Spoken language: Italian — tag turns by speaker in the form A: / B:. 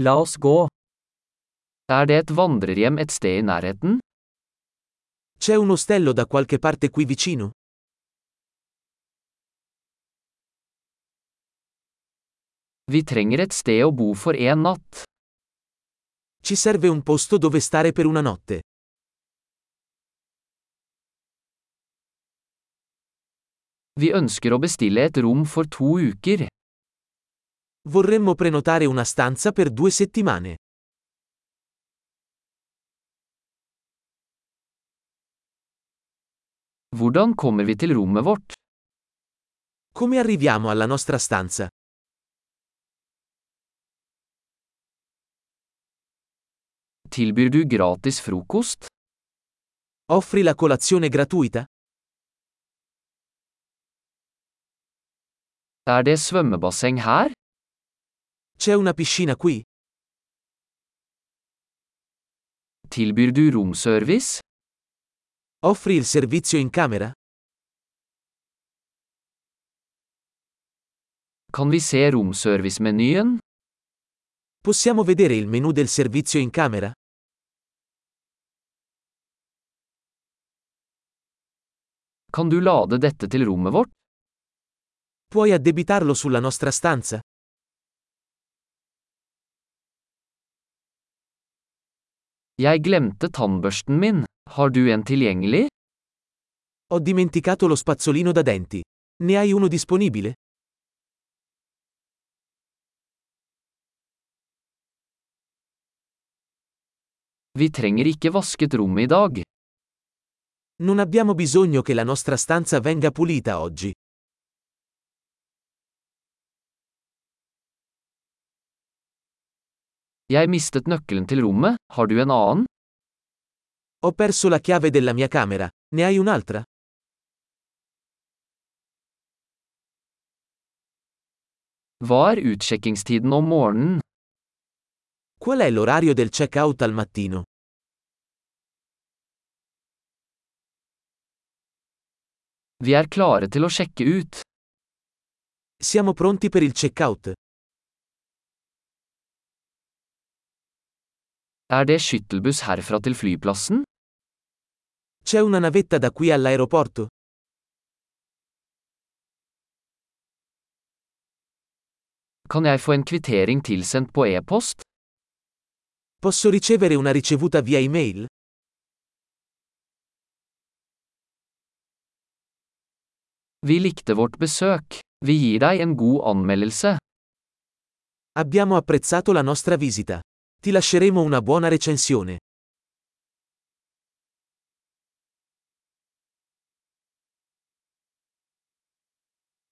A: La oss gå. Er det et vandrerhjem et sted i nærheten?
B: C'è un ostello da qualche parte qui vicino?
A: Vi trenger et sted å bo for en natt.
B: Ci serve un posto dove stare per una notte.
A: Vi ønsker å bestille et rom for to uker.
B: Vorremmo prenotare una stanza per due settimane.
A: Hvordan kommer vi til rommet vårt?
B: Come arriviamo alla nostra stanza?
A: Tilbyr du gratis frokost?
B: Offri la colazione gratuita?
A: Er det svømmebasseng her?
B: C'è una piscina qui?
A: Tilbyr du romservice?
B: Offri il servizio in camera?
A: Kan vi se romservice-menyen?
B: Possiamo vedere il menu del servizio in camera?
A: Kan du lade dette til rommet vårt?
B: Puoi addebitarlo sulla nostra stanza?
A: Jeg glemte tannbørsten min. Har du en tilgjengelig?
B: Ho dimenticato lo spazzolino da denti. Ne hai uno disponibile?
A: Vi trenger ikke vasket rommet i dag.
B: Non abbiamo bisogno che la nostra stanza venga pulita oggi.
A: Jeg mistet nøkkelen til rommet, har du en annen?
B: Ho perso la chiave della mia camera. Ne hai un'altra?
A: Hva er utsjekkingstiden om morgenen?
B: Qual è l'orario del check-out al mattino?
A: Vi er klare til å sjekke ut.
B: Siamo pronti per il check-out.
A: Er det skyttelbuss herfra til flyplassen?
B: C'è una navetta da qui all'aeroporto?
A: Kan jeg få en kvittering tilsendt på e-post?
B: Posso ricevere una ricevuta via email?
A: Vi likte vårt besøk. Vi gir deg en god anmeldelse.
B: Abbiamo apprezzato la nostra visita. Ti lasceremo una buona recensione.